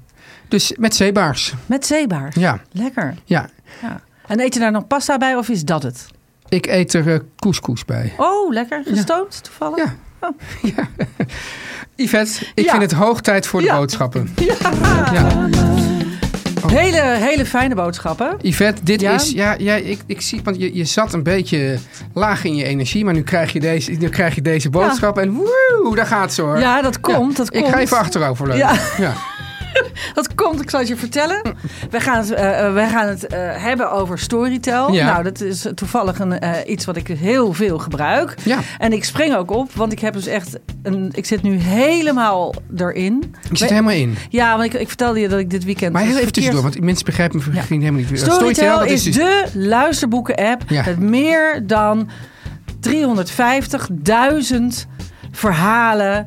dus met zeebaars.
Met zeebaars.
Ja,
Lekker.
ja.
Ja. En eet je daar nog pasta bij of is dat het?
Ik eet er eh, couscous bij.
Oh, lekker. Gestoomd toevallig. Oh.
Ja. ja. Yvette, ik
Ja.
vind het hoog tijd voor de
Ja.
boodschappen.
Hele, hele fijne boodschappen.
Yvette, dit
Ja?
is... Ja, ja ik, ik zie... Want je, je zat een beetje laag in je energie. Maar nu krijg je deze, nu krijg je deze boodschap. En woe, daar gaat ze hoor.
Ja, dat komt. Dat
ik
komt.
ga even achterover leunen.
Ja.
Ja.
Dat komt, ik zal het je vertellen. We gaan het, eh, eh, wij gaan het eh, hebben over Storytel.
Ja.
Nou, dat is toevallig een, eh, iets wat ik heel veel gebruik.
Ja.
En ik spring ook op, want ik heb dus echt... Een, ik zit nu helemaal erin.
Ik zit
We-
er helemaal in.
Ja, want ik, ik vertelde je dat ik dit weekend...
Maar heel
dus
even tussendoor,
verkeerd-
want mensen begrijpen me misschien helemaal niet. Eh,
Storytel,
dat
is
dus-
de luisterboeken-app
Ja.
met meer dan 350.000 verhalen.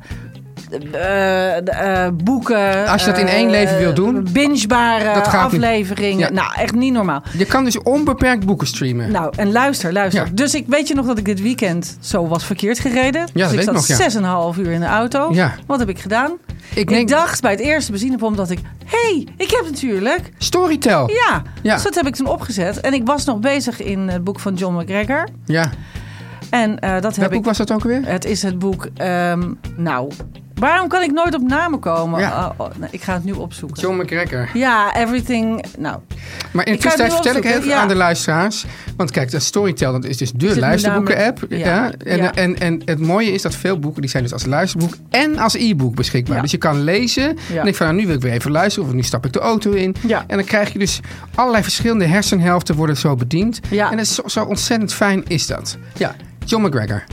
eh, eh, boeken.
Als je dat in
eh,
één leven wil doen,
Bingebare
dat gaat niet.
afleveringen.
Ja.
Nou, echt niet normaal.
Je kan dus onbeperkt boeken streamen.
Nou, en luister, luister.
Ja.
Dus ik weet je nog dat ik dit weekend zo was verkeerd gereden. dus
dat
ik
weet ik nog, ja.
zat 6,5 uur in de auto.
Ja.
Wat heb ik gedaan? Ik,
denk-
dacht bij het eerste benzinepomp dat ik... Hé, hey, ik heb natuurlijk
Storytel.
ja,
Ja.
dus dat heb ik toen opgezet. En ik was nog bezig in het boek van John McGregor.
Ja.
En eh, dat
Welk
heb
boek
ik.
was dat ook weer?
Het is het boek. ehm, nou, waarom kan ik nooit op namen komen?
Ja.
Oh, oh, nee, ik ga het nu opzoeken.
John McGregor.
Ja, everything. Nou,
Maar in de
Ik kan het nu
tussentijd vertel ik
opzoeken,
even
ja.
aan de luisteraars. Want kijk, dat Storytel dat is dus de
het
luisterboeken-app. Ja.
namelijk- ja,
En,
ja.
En, en het mooie is dat veel boeken die zijn dus als luisterboek en als e-book beschikbaar.
Ja.
Dus je kan lezen.
Ja.
En ik van nou, nu wil ik weer even luisteren. Of nu stap ik de auto in.
Ja.
En dan krijg je dus allerlei verschillende hersenhelften worden zo bediend.
Ja.
En dat is zo, zo ontzettend fijn is dat. Ja, John McGregor.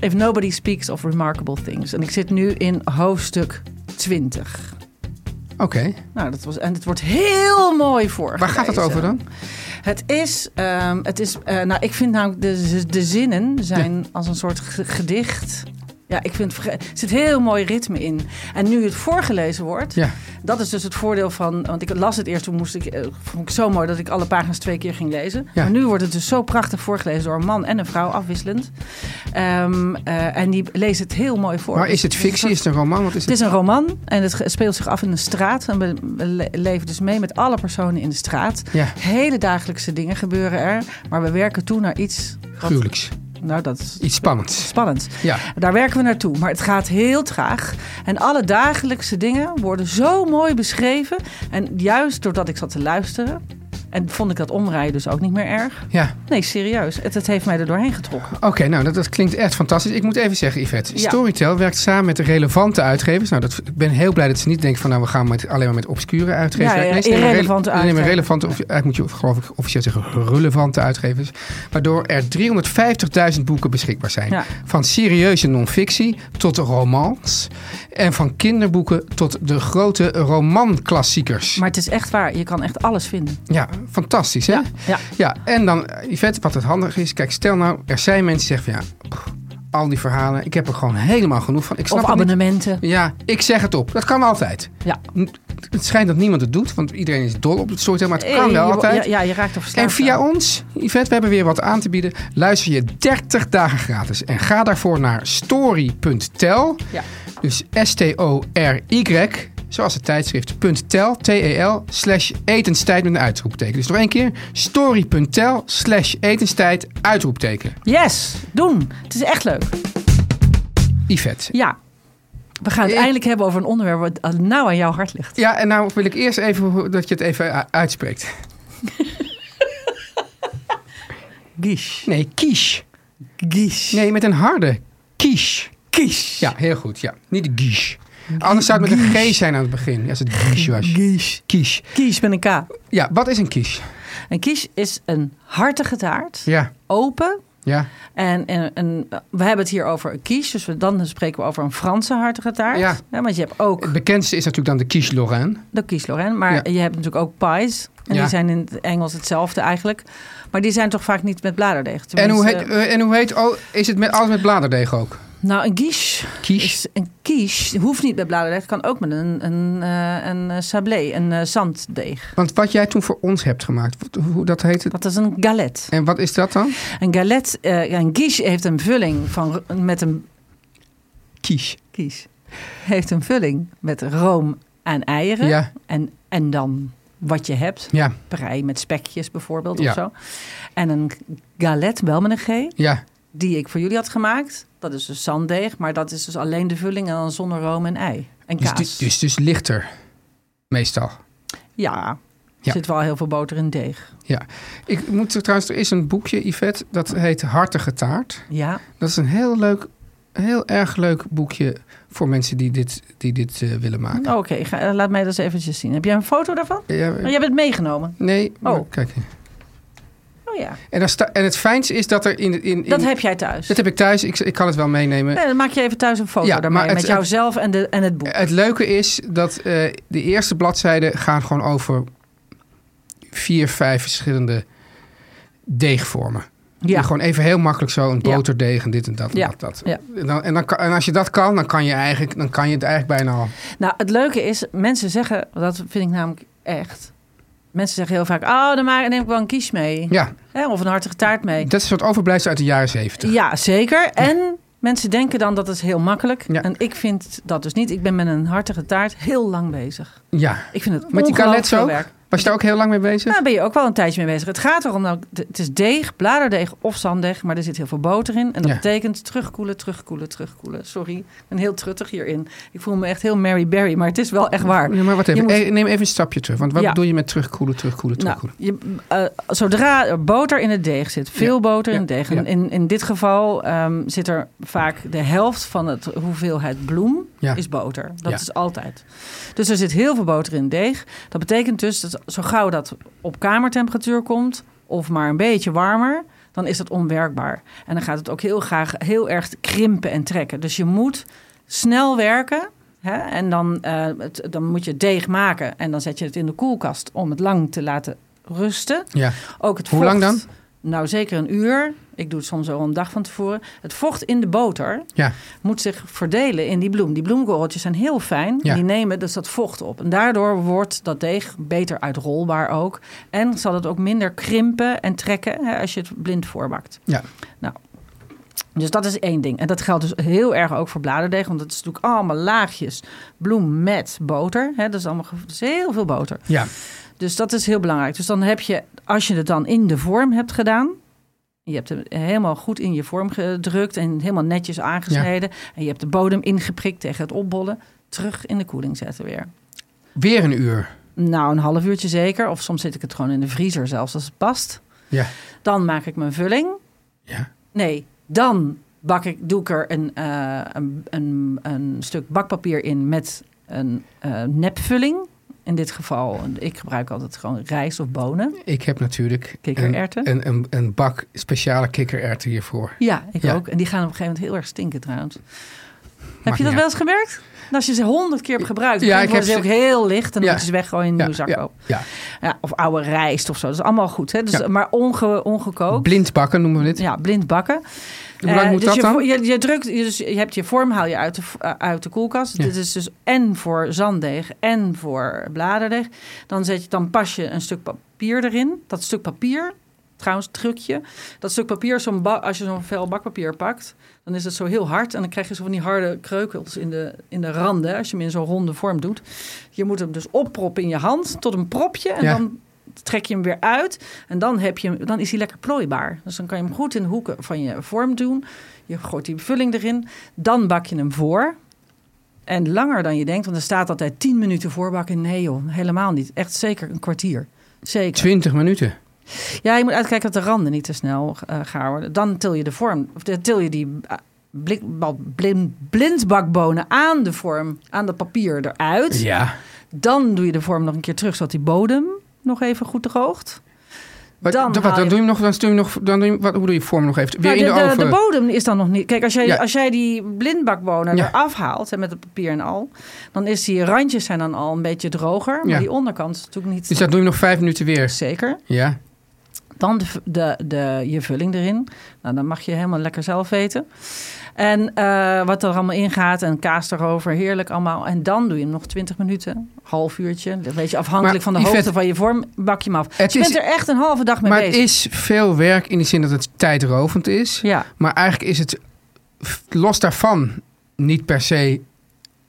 if nobody speaks of remarkable things. En ik zit nu in hoofdstuk 20.
Oké,
Nou, dat was, en het wordt heel mooi voor.
waar gaat het over dan?
Het is, ehm, het is eh, nou, ik vind namelijk de, de zinnen zijn als een soort ge- gedicht. Ja, ik vind, er zit heel mooi ritme in. En nu het voorgelezen wordt,
Ja.
dat is dus het voordeel van, want ik las het eerst, toen moest ik, eh, vond ik zo mooi dat ik alle pagina's twee keer ging lezen.
Ja.
Maar nu wordt het dus zo prachtig voorgelezen door een man en een vrouw, afwisselend. Ehm, eh, en die lezen het heel mooi voor.
Maar
Dus
is het
is een
fictie? Is het een roman? Wat is
het
het?
is een roman en het ge- speelt zich af in een straat. En we we le- leven dus mee met alle personen in de straat.
Ja.
Hele dagelijkse dingen gebeuren er. Maar we werken toe naar iets... wat-
Gruwelijks.
Nou, dat is
Iets spannends.
spannend.
Ja.
Daar werken we naartoe. Maar het gaat heel traag. En alle dagelijkse dingen worden zo mooi beschreven. En juist doordat ik zat te luisteren... en vond ik dat omrijden dus ook niet meer erg.
Ja.
Nee, serieus. Het, het heeft mij er doorheen getrokken.
Oké, nou dat, dat klinkt echt fantastisch. Ik moet even zeggen, Yvette.
Ja.
Storytel werkt samen met de relevante uitgevers. Nou, dat, ik ben heel blij dat ze niet denken van... nou, we gaan met, alleen maar met obscure uitgevers.
Ja, ja,
werken. Nee, ze nemen
irrelevante
rele- ze nemen
uitgevers.
relevante, of, eigenlijk moet je geloof ik officieel zeggen... relevante uitgevers. Waardoor er 350.000 boeken beschikbaar zijn.
Ja.
Van serieuze non-fictie tot romans. En van kinderboeken tot de grote romanklassiekers.
Maar het is echt waar. Je kan echt alles vinden.
Ja, fantastisch hè?
Ja, ja.
Ja, en dan, eh, Yvette, wat het handig is. Kijk, stel nou, er zijn mensen die zeggen van ja, pff, al die verhalen, ik heb er gewoon helemaal genoeg van. Ik snap
Of
het niet.
abonnementen.
Ja, ik zeg het op. Dat kan altijd.
Ja.
N- Het schijnt dat niemand het doet, want iedereen is dol op het soort, maar het
Eh,
kan
je
wel
wo-
altijd.
Ja, ja, je raakt er verslaafd
En via
aan.
ons, Yvette, we hebben weer wat aan te bieden. Luister je 30 dagen gratis. En ga daarvoor naar story.tel.
Ja.
Dus S-T-O-R-Y, zoals het tijdschrift.tel, T-E-L, E slash etenstijd met een uitroepteken. Dus nog één keer, story.tel, slash etenstijd, uitroepteken.
Yes, doen. Het is echt leuk.
Yvette.
Ja. We gaan het
Ik-
eindelijk hebben over een onderwerp wat aan- nou aan jouw hart ligt.
Ja, en nou wil ik eerst even ho- dat je het even eh, uitspreekt.
Gish.
Nee, quiche.
Gish.
Nee, met een harde quiche.
Gish.
Ja, heel goed. Ja. Niet quiche. Anders zou het met een G zijn aan het begin. Als het quiche was.
Gish.
Quiche.
Kies met een K.
Ja, wat is een quiche?
Een kies is een hartige taart.
Ja,
Open.
ja,
En, en, en eh, we hebben het hier over een kies. Dus we, dan spreken we over een Franse hartige taart.
Ja.
want je hebt ook
het bekendste is natuurlijk dan de quiche Lorraine.
De kies Lorraine. Maar
Ja.
je hebt natuurlijk ook pies. En
Ja.
die zijn in het Engels hetzelfde eigenlijk. Maar die zijn toch vaak niet met bladerdeeg.
En hoe,
Tenminste,
heet, eh, en hoe heet, oh, is het met, alles met bladerdeeg ook?
Nou, een quiche.
Quiche.
Is een quiche hoeft niet met bladerdeeg. Kan ook met een, een, eh, een eh, sablé, een eh, zanddeeg.
Want wat jij toen voor ons hebt gemaakt, wat- hoe dat heet het?
Dat is een galet.
En wat is dat dan?
Een galet, eh, ja, een quiche heeft een vulling van met een
Quiche.
quiche heeft een vulling met room aan eieren.
Ja.
En, en dan wat je hebt.
Ja,
Prei met spekjes bijvoorbeeld
Ja.
of zo. En een galette, wel met een G,
ja,
die ik voor jullie had gemaakt. Dat is dus zanddeeg, maar dat is dus alleen de vulling en dan zonder room en ei. En
dus,
kaas.
dus, dus, dus lichter. Meestal.
Ja,
Ja.
er zit wel heel veel boter in deeg.
Ja. Ik moet er- trouwens, er is een boekje, Yvette, dat heet Hartige Taart.
Ja,
Dat is een heel leuk, heel erg leuk boekje voor mensen die dit, die dit eh, willen maken.
oké. ga- eh, laat mij dat eens eventjes zien. Heb jij een foto daarvan?
Ja,
Oh, jij bent meegenomen.
nee, maar
Oh.
kijk.
Oh ja,
En, daar sta, en het fijnste is dat er in... in, in
dat heb jij thuis.
dat heb ik thuis, ik, ik kan het wel meenemen.
Nee, dan maak je even thuis een foto
Ja, maar
daarmee.
het- Eh,
Met jouzelf en, de, en het boek.
Het leuke is dat eh, de eerste bladzijden gaan gewoon over vier, vijf verschillende deegvormen. Ja.
ja.
Gewoon even heel makkelijk zo een
Ja.
boterdeeg en dit en dat en
Ja.
dat. dat.
Ja.
En, dan, en, dan, kan- en als je dat kan, dan kan je, eigenlijk, dan kan je het eigenlijk bijna al.
Nou, het leuke is, mensen zeggen, dat vind ik namelijk echt. Mensen zeggen heel vaak, oh, dan ma- neem ik wel een kies mee.
Ja,
Hè, of een hartige taart mee.
dat is wat overblijft uit de jaren zeventig.
Ja, zeker. En mensen denken dan dat is heel makkelijk.
Ja.
En ik vind dat dus niet. Ik ben met een hartige taart heel lang bezig.
Ja.
Ik vind
Met
het
die
ongelooflijk
galets
veel
ook?
werk.
Was je daar ook heel lang mee bezig?
Daar ben je ook wel een tijdje mee bezig. Het gaat erom, nou, d- het is deeg, bladerdeeg of zanddeeg, maar er zit heel veel boter in. En dat
Ja.
betekent terugkoelen, terugkoelen, terugkoelen. Sorry, ik ben heel truttig hierin. Ik voel me echt heel Mary Berry, maar het is wel echt waar.
Ja, maar wat even,
Je moet-
eh, neem even een stapje terug. Want wat
Ja.
bedoel je met terugkoelen, terugkoelen,
Nou,
terugkoelen?
je, eh, zodra er boter in het deeg zit, veel
Ja,
boter in
ja,
het deeg. En
ja.
In, in dit geval ehm, zit er vaak de helft van het hoeveelheid bloem
Ja.
is boter. Dat
Ja.
is altijd. Dus er zit heel veel boter in het deeg. Dat betekent dus dat zo gauw dat op kamertemperatuur komt, of maar een beetje warmer, dan is dat onwerkbaar. En dan gaat het ook heel graag heel erg krimpen en trekken. Dus je moet snel werken. Hè? En dan, eh, het, dan moet je deeg maken. En dan zet je het in de koelkast om het lang te laten rusten.
Ja.
Ook het
Hoe
vocht-
lang dan?
Nou, zeker een uur. Ik doe het soms al een dag van tevoren. Het vocht in de boter
Ja.
moet zich verdelen in die bloem. Die bloemkorreltjes zijn heel fijn.
Ja.
Die nemen dus dat vocht op. En daardoor wordt dat deeg beter uitrolbaar ook. En zal het ook minder krimpen en trekken hè, als je het blind voorbakt. Nou,
Ja.
Dus dat is één ding. En dat geldt dus heel erg ook voor bladerdeeg. Want het is natuurlijk allemaal laagjes bloem met boter. Hè, dat, is allemaal, ge- dat is heel veel boter.
Ja.
Dus dat is heel belangrijk. Dus dan heb je, als je het dan in de vorm hebt gedaan. Je hebt hem helemaal goed in je vorm gedrukt en helemaal netjes aangesneden. En je hebt de bodem ingeprikt tegen het opbollen. Terug in de koeling zetten weer.
Weer een uur.
Nou, een half uurtje zeker. Of soms zit ik het gewoon in de vriezer zelfs als het past.
Ja.
Dan maak ik mijn vulling.
Ja.
Nee, dan bak ik, doe ik er een, eh, een, een, een stuk bakpapier in met een eh, nepvulling. In dit geval, ik gebruik altijd gewoon rijst of bonen.
Ik heb natuurlijk een,
Kikkererwten?
een, een, een bak speciale kikkererwten hiervoor.
Ja, ik
Ja.
ook. En die gaan op een gegeven moment heel erg stinken trouwens. Heb
Maakt
je dat
niet
wel eens gemerkt? En als je ze honderd keer hebt gebruikt,
Ja,
ja,
ik
worden ze
heb
ook heel licht. En dan
Ja.
moet je ze weggooien in een nieuwe
ja,
zak
ja,
kopen.
ja.
Ja, of oude rijst of zo. Dat is allemaal goed. Hè? Dus,
Ja.
Maar onge, ongekookt.
Blind bakken noemen we dit.
Ja, blind bakken.
Hoe lang
Eh,
moet
dus
dat
je,
dan?
vo- Je, je drukt, je- dus je hebt je vorm haal je uit de, v- eh, uit de koelkast.
Ja.
Dit is dus en voor zanddeeg en voor bladerdeeg. Dan, zet je, dan pas je een stuk papier erin. Dat stuk papier, trouwens trucje. Dat stuk papier, zo'n ba- als je zo'n vel bakpapier pakt... dan is het zo heel hard. En dan krijg je zo van die harde kreukels in de, in de randen... als je hem in zo'n ronde vorm doet. Je moet hem dus opproppen in je hand tot een propje. En
Ja.
dan trek je hem weer uit. En dan, heb je hem, dan is hij lekker plooibaar. Dus dan kan je hem goed in de hoeken van je vorm doen. Je gooit die vulling erin. Dan bak je hem voor. En langer dan je denkt, want er staat altijd 10 minuten voorbakken. Nee joh, helemaal niet. Echt zeker een kwartier. Zeker.
20 minuten.
Ja, je moet uitkijken dat de randen niet te snel eh gaar worden. Dan til je de vorm, of de- til je die eh, blik, bal- blin- blindbakbonen aan de vorm, aan dat papier eruit.
Ja.
Dan doe je de vorm nog een keer terug, zodat die bodem nog even goed droogt.
Wat,
Dan
dan, wat,
haal
dan
je-
doe je hem nog, dan doe je hem nog, dan doe je, wat, hoe doe je vorm nog even? Weer
Nou,
in de,
de,
oven.
bodem is dan nog niet. Kijk, als jij,
Ja.
als jij die blindbakbonen
Ja.
eraf haalt, hè, met het papier en al, dan is die randjes zijn dan al een beetje droger. Maar
Ja.
die onderkant is natuurlijk niet
dus dat doe je nog vijf minuten weer.
zeker.
Ja.
Dan de, v- de, de, je vulling erin. Nou, dan mag je helemaal lekker zelf weten. En eh, wat er allemaal ingaat en kaas erover, heerlijk allemaal. En dan doe je hem nog 20 minuten, half uurtje. Een beetje afhankelijk
Maar
van de
Yvette,
hoogte van je vorm, bak je hem af.
het
je bent
is-
er echt een halve dag mee
Maar het
bezig.
is veel werk in de zin dat het tijdrovend is.
Ja.
Maar eigenlijk is het f- los daarvan niet per se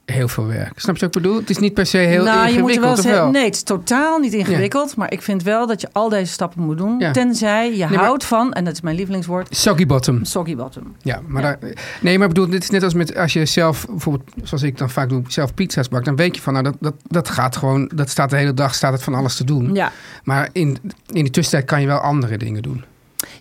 heel veel werk. Snap je wat ik bedoel? Het is niet per se heel
nou, je moet
ingewikkeld,
er wel
of
zeggen,
wel?
nee, het is totaal niet ingewikkeld. Maar ik vind wel dat je al deze stappen moet doen.
Ja.
Tenzij je
maar-
houdt van, en dat is mijn lievelingswoord,
Soggy bottom.
soggy bottom.
Ja, maar Daar, nee, maar ik bedoel, dit is net als met als je zelf, bijvoorbeeld, zoals ik dan vaak doe, zelf pizza's bakt, dan weet je van, nou, dat, dat, dat gaat gewoon, dat staat de hele dag, staat het van alles te doen.
Ja.
Maar in, in de tussentijd kan je wel andere dingen doen.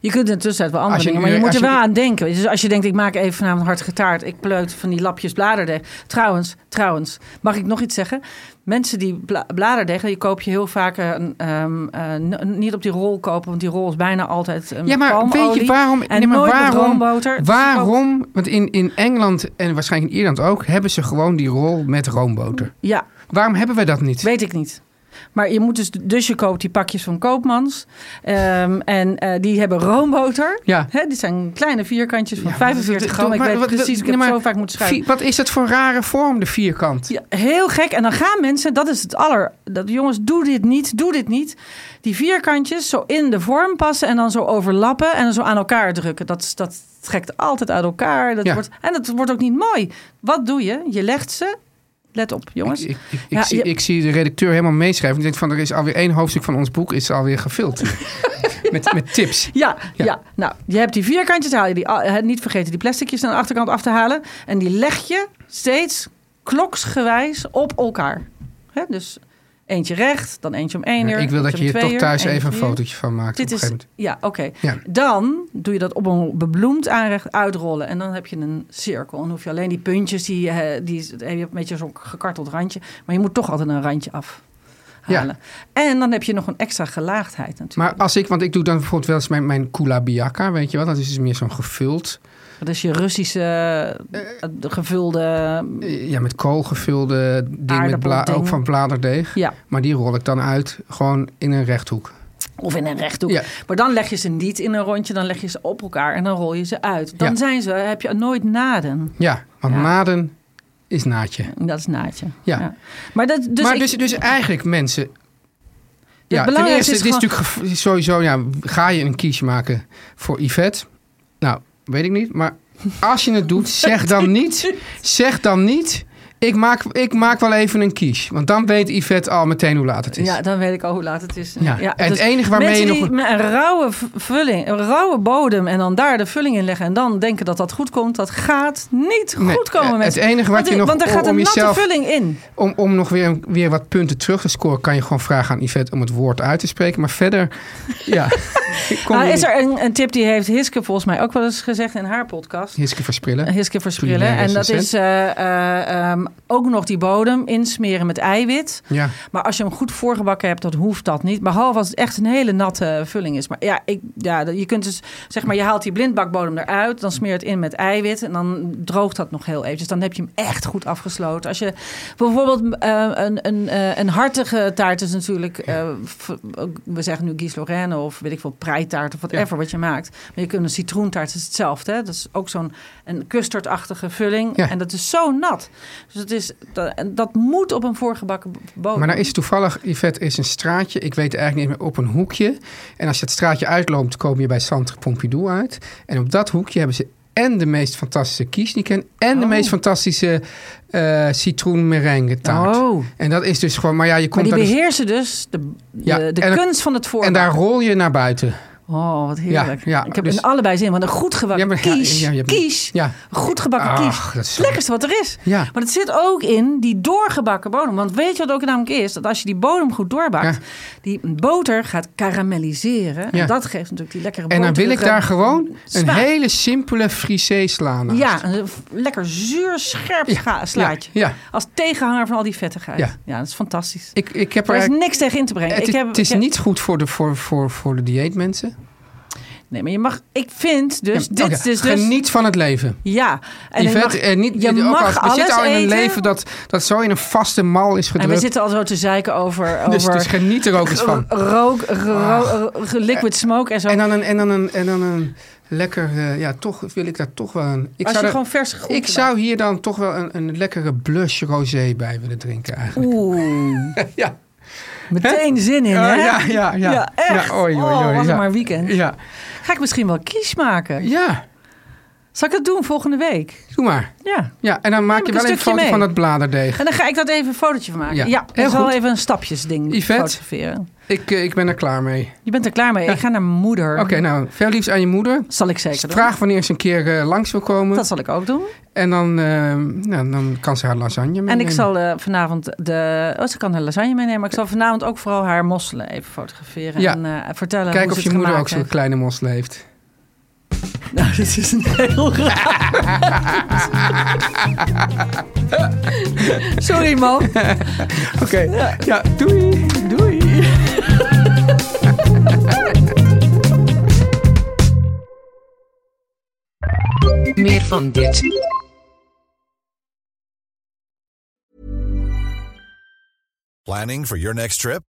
Je kunt in de tussentijd wel andere
Als je
dingen,
nu-
maar je moet
als
er
je-
wel aan denken. Dus als je denkt, ik maak even vanavond hartige taart. Ik pleut van die lapjes bladerdeeg. Trouwens, trouwens, mag ik nog iets zeggen? Mensen die bla bladerdeeg, die koop je heel vaak eh, een, ehm, eh, n- niet op die rol kopen. Want die rol is bijna altijd een
Ja, maar
palmolie
weet je waarom?
En
nee, maar
nooit met
waarom?
roomboter. Dus ook-
Waarom? Want in, in Engeland en waarschijnlijk in Ierland ook, hebben ze gewoon die rol met roomboter.
Ja,
Waarom hebben we dat niet?
Weet ik niet. Maar je moet dus, dus je koopt die pakjes van Koopmans. Ehm, en eh, die hebben roomboter.
Ja.
Hè, dit zijn kleine vierkantjes van
Ja, maar dat-
45 gram.
dat-
Ik
maar
weet
wat-
precies,
dat-
ik heb
nee, maar
zo vaak moeten
vi-
schrijven.
Wat is dat voor rare vorm, de vierkant?
Ja, heel gek. En dan gaan mensen, dat is het aller... Dat, jongens, doe dit niet, doe dit niet. Die vierkantjes zo in de vorm passen en dan zo overlappen... en dan zo aan elkaar drukken. Dat, is- dat trekt altijd uit elkaar. Dat
Ja.
wordt, en dat wordt ook niet mooi. Wat doe je? Je legt ze... Let op, jongens.
Ik, ik, ik,
Ja,
ik zie,
je-
ik zie de redacteur helemaal meeschrijven. Ik denk van, er is alweer één hoofdstuk van ons boek is alweer gevuld.
(laughs)
met, met tips.
Ja, ja.
Ja.
nou, je hebt die vierkantjes, haal je die, a- hè, niet vergeten die plasticjes aan de achterkant af te halen. En die leg je steeds kloksgewijs op elkaar. Hè? Dus eentje recht, dan eentje om één uur.
ik wil dat je
eentje om
hier
twee
toch
uur,
thuis
eentje
even
om
een
drie uur.
fotootje van maakt.
Dit
op een
is,
gegeven
ja, oké.
Ja.
Dan doe je dat op een bebloemd aanrecht uitrollen. En dan heb je een cirkel. En dan hoef je alleen die puntjes, die, eh, die is- eh, je hebt een beetje zo'n gekarteld randje. Maar je moet toch altijd een randje af.
Ja.
Halen. En dan heb je nog een extra gelaagdheid natuurlijk.
moment. Maar als ik, want ik doe dan bijvoorbeeld wel eens mijn, mijn kulabiaka, weet je wel. Dat is dus meer zo'n gevuld.
Dat is je Russische eh, de gevulde.
eh, Ja, met kool gevulde ding, met bla,
Aardappelding.
ook van bladerdeeg.
Ja,
Maar die rol ik dan uit gewoon in een rechthoek.
of in een rechthoek.
Ja.
Maar dan leg je ze niet in een rondje, dan leg je ze op elkaar en dan rol je ze uit. Dan
Ja.
zijn ze, heb je nooit naden.
Ja, want
Ja.
naden is naadje.
Dat is naadje.
Ja.
Maar dat, dus,
maar
ik-
dus, dus eigenlijk mensen... Ja, ten
belangrijkste
eerste,
is
dit is
gewoon-
natuurlijk gev- sowieso... Ja, ga je een kiesje maken voor Yvette? Nou, weet ik niet. Maar als je het
(laughs)
doet, zeg dan niet... Zeg dan niet... Ik maak, ik maak wel even een kies. Want dan weet Yvette al meteen hoe laat het is.
Ja, dan weet ik al hoe laat het is. dus
Ja, en het enige waarmee
mensen
je
die
nog-
met een rauwe v- vulling, een rauwe bodem en dan daar de vulling in leggen en dan denken dat dat goed komt, dat gaat niet
Nee,
goed komen.
het
mensen.
enige wat
want,
je nog
want er
om-
gaat
om
een natte
jezelf-
vulling in.
Om, om nog weer, weer wat punten terug te scoren... kan je gewoon vragen aan Yvette om het woord uit te spreken. Maar verder...
(laughs)
Ja, ik kom
Nou,
er
is
niet.
er een, een tip die heeft Hiske volgens mij ook wel eens gezegd in haar podcast?
Hiske Versprillen.
Hiske Versprillen.
Culinaire
En dat is eh, eh, ehm, ook nog die bodem insmeren met eiwit.
Ja.
Maar als je hem goed voorgebakken hebt, dan hoeft dat niet. Behalve als het echt een hele natte vulling is. Maar ja, ik, ja je kunt dus, zeg maar, je haalt die blindbakbodem eruit. Dan smeer je het in met eiwit. En dan droogt dat nog heel eventjes. Dan heb je hem echt goed afgesloten. Als je bijvoorbeeld eh, een, een, eh, een hartige taart is natuurlijk... eh, v- we zeggen nu Guy Lorraine of weet ik veel, preitaart of whatever wat je maakt. Maar je kunt een citroentaart, dat is hetzelfde. Hè? Dat is ook zo'n een custardachtige vulling.
Ja.
En dat is zo nat. Dus dat, is, dat, en dat moet op een voorgebakken bodem.
Maar nou is toevallig, Yvette is een straatje, ik weet eigenlijk niet meer, op een hoekje. En als je het straatje uitloopt, kom je bij Centre Pompidou uit. En op dat hoekje hebben ze en de meest fantastische kiesniken en de
Oh.
meest fantastische eh citroenmerengue taart.
Oh.
En dat is dus gewoon, maar ja, je
Maar
komt
die
daar dus-
beheersen dus de,
Ja,
de, de
en-
kunst van het
en
voorbakken.
daar rol je naar buiten.
Oh, wat heerlijk.
Ja, ja,
ik heb
dus-
in allebei zin, want een goed gebakken
Ja, maar- ja,
kies,
ja, je hebt-
kies,
ja.
een goed gebakken
Ach,
kies,
dat is zo-
het lekkerste wat er is.
Ja.
Maar het zit ook in die doorgebakken bodem. Want weet je wat ook namelijk is? Dat als je die bodem goed doorbakt,
Ja.
die boter gaat karamelliseren. En
Ja.
dat geeft natuurlijk die lekkere
En dan wil ik
boterige
daar gewoon een
smaak.
hele simpele frisee slaan naast.
Ja, een f- lekker zuur, scherp scha- slaatje.
ja, ja.
Als tegenhanger van al die vettigheid. Ja,
Ja.
dat is fantastisch.
Ik, ik heb er
er is
eigenlijk-
niks tegen in te brengen.
het,
ik heb,
het is
ik heb-
niet goed voor de, voor, voor, voor de dieetmensen.
Nee, maar je mag... Ik vind dus...
Ja,
dit
oké,
is dus... dus-
Geniet van het leven.
Ja. En je
Yvette,
mag,
eh, niet,
je
ook
mag
als-
alles
we zitten al in een
eten.
leven dat, dat zo in een vaste mal is
En
gedrukt.
we zitten al zo te zeiken over...
(laughs)
over
dus, dus geniet er ook eens
(laughs)
van. Ah. Eh,
Rook, ro- ro- liquid smoke en zo.
En dan een, en dan een, en dan een lekker, eh, ja, toch wil ik daar toch wel een. Ik
Als je
er-
gewoon vers groente
Ik zou hier dan toch wel een, een lekkere blush rosé bij willen drinken
(laughs)
eigenlijk. (laughs)
Oeh,
Ja.
meteen zin in,
Ja,
hè?
Oh, ja, ja, ja.
Ja, echt.
Ja, oei, oei,
oh,
oei,
was het
ja.
maar weekend.
Ja.
Ga ik misschien wel kies maken.
Ja.
Zal ik dat doen volgende week?
Doe maar.
Ja.
Ja, en dan maak je
ik
wel even
een
een
stukje
foto
mee.
van dat bladerdeeg.
En dan ga ik dat even een fotootje van maken.
Ja,
Ja,
heel
ik zal
goed.
even een stapjesding
Yvette?
fotograferen.
Ik, eh, ik ben er klaar mee.
Je bent er klaar mee. Ik ga naar mijn moeder.
Oké, nou, veel liefs aan je moeder.
Zal ik zeker doen.
Vraag wanneer ze een keer eh, langs wil komen.
Dat zal ik ook doen.
En dan, eh, nou, dan kan ze haar lasagne meenemen.
En ik zal eh, vanavond de... Oh, ze kan haar lasagne meenemen. Maar ik zal vanavond ook vooral haar mosselen even fotograferen.
Ja.
En eh, vertellen
Kijken
hoe
of
ze
je
het
moeder ook
gemaakt
zo'n
heeft.
kleine mos heeft.
Nou, dit is een heel raar.
(laughs)
Sorry, man.
Oké, ja, doei.
Doei.
Meer van dit.
Planning for your next trip?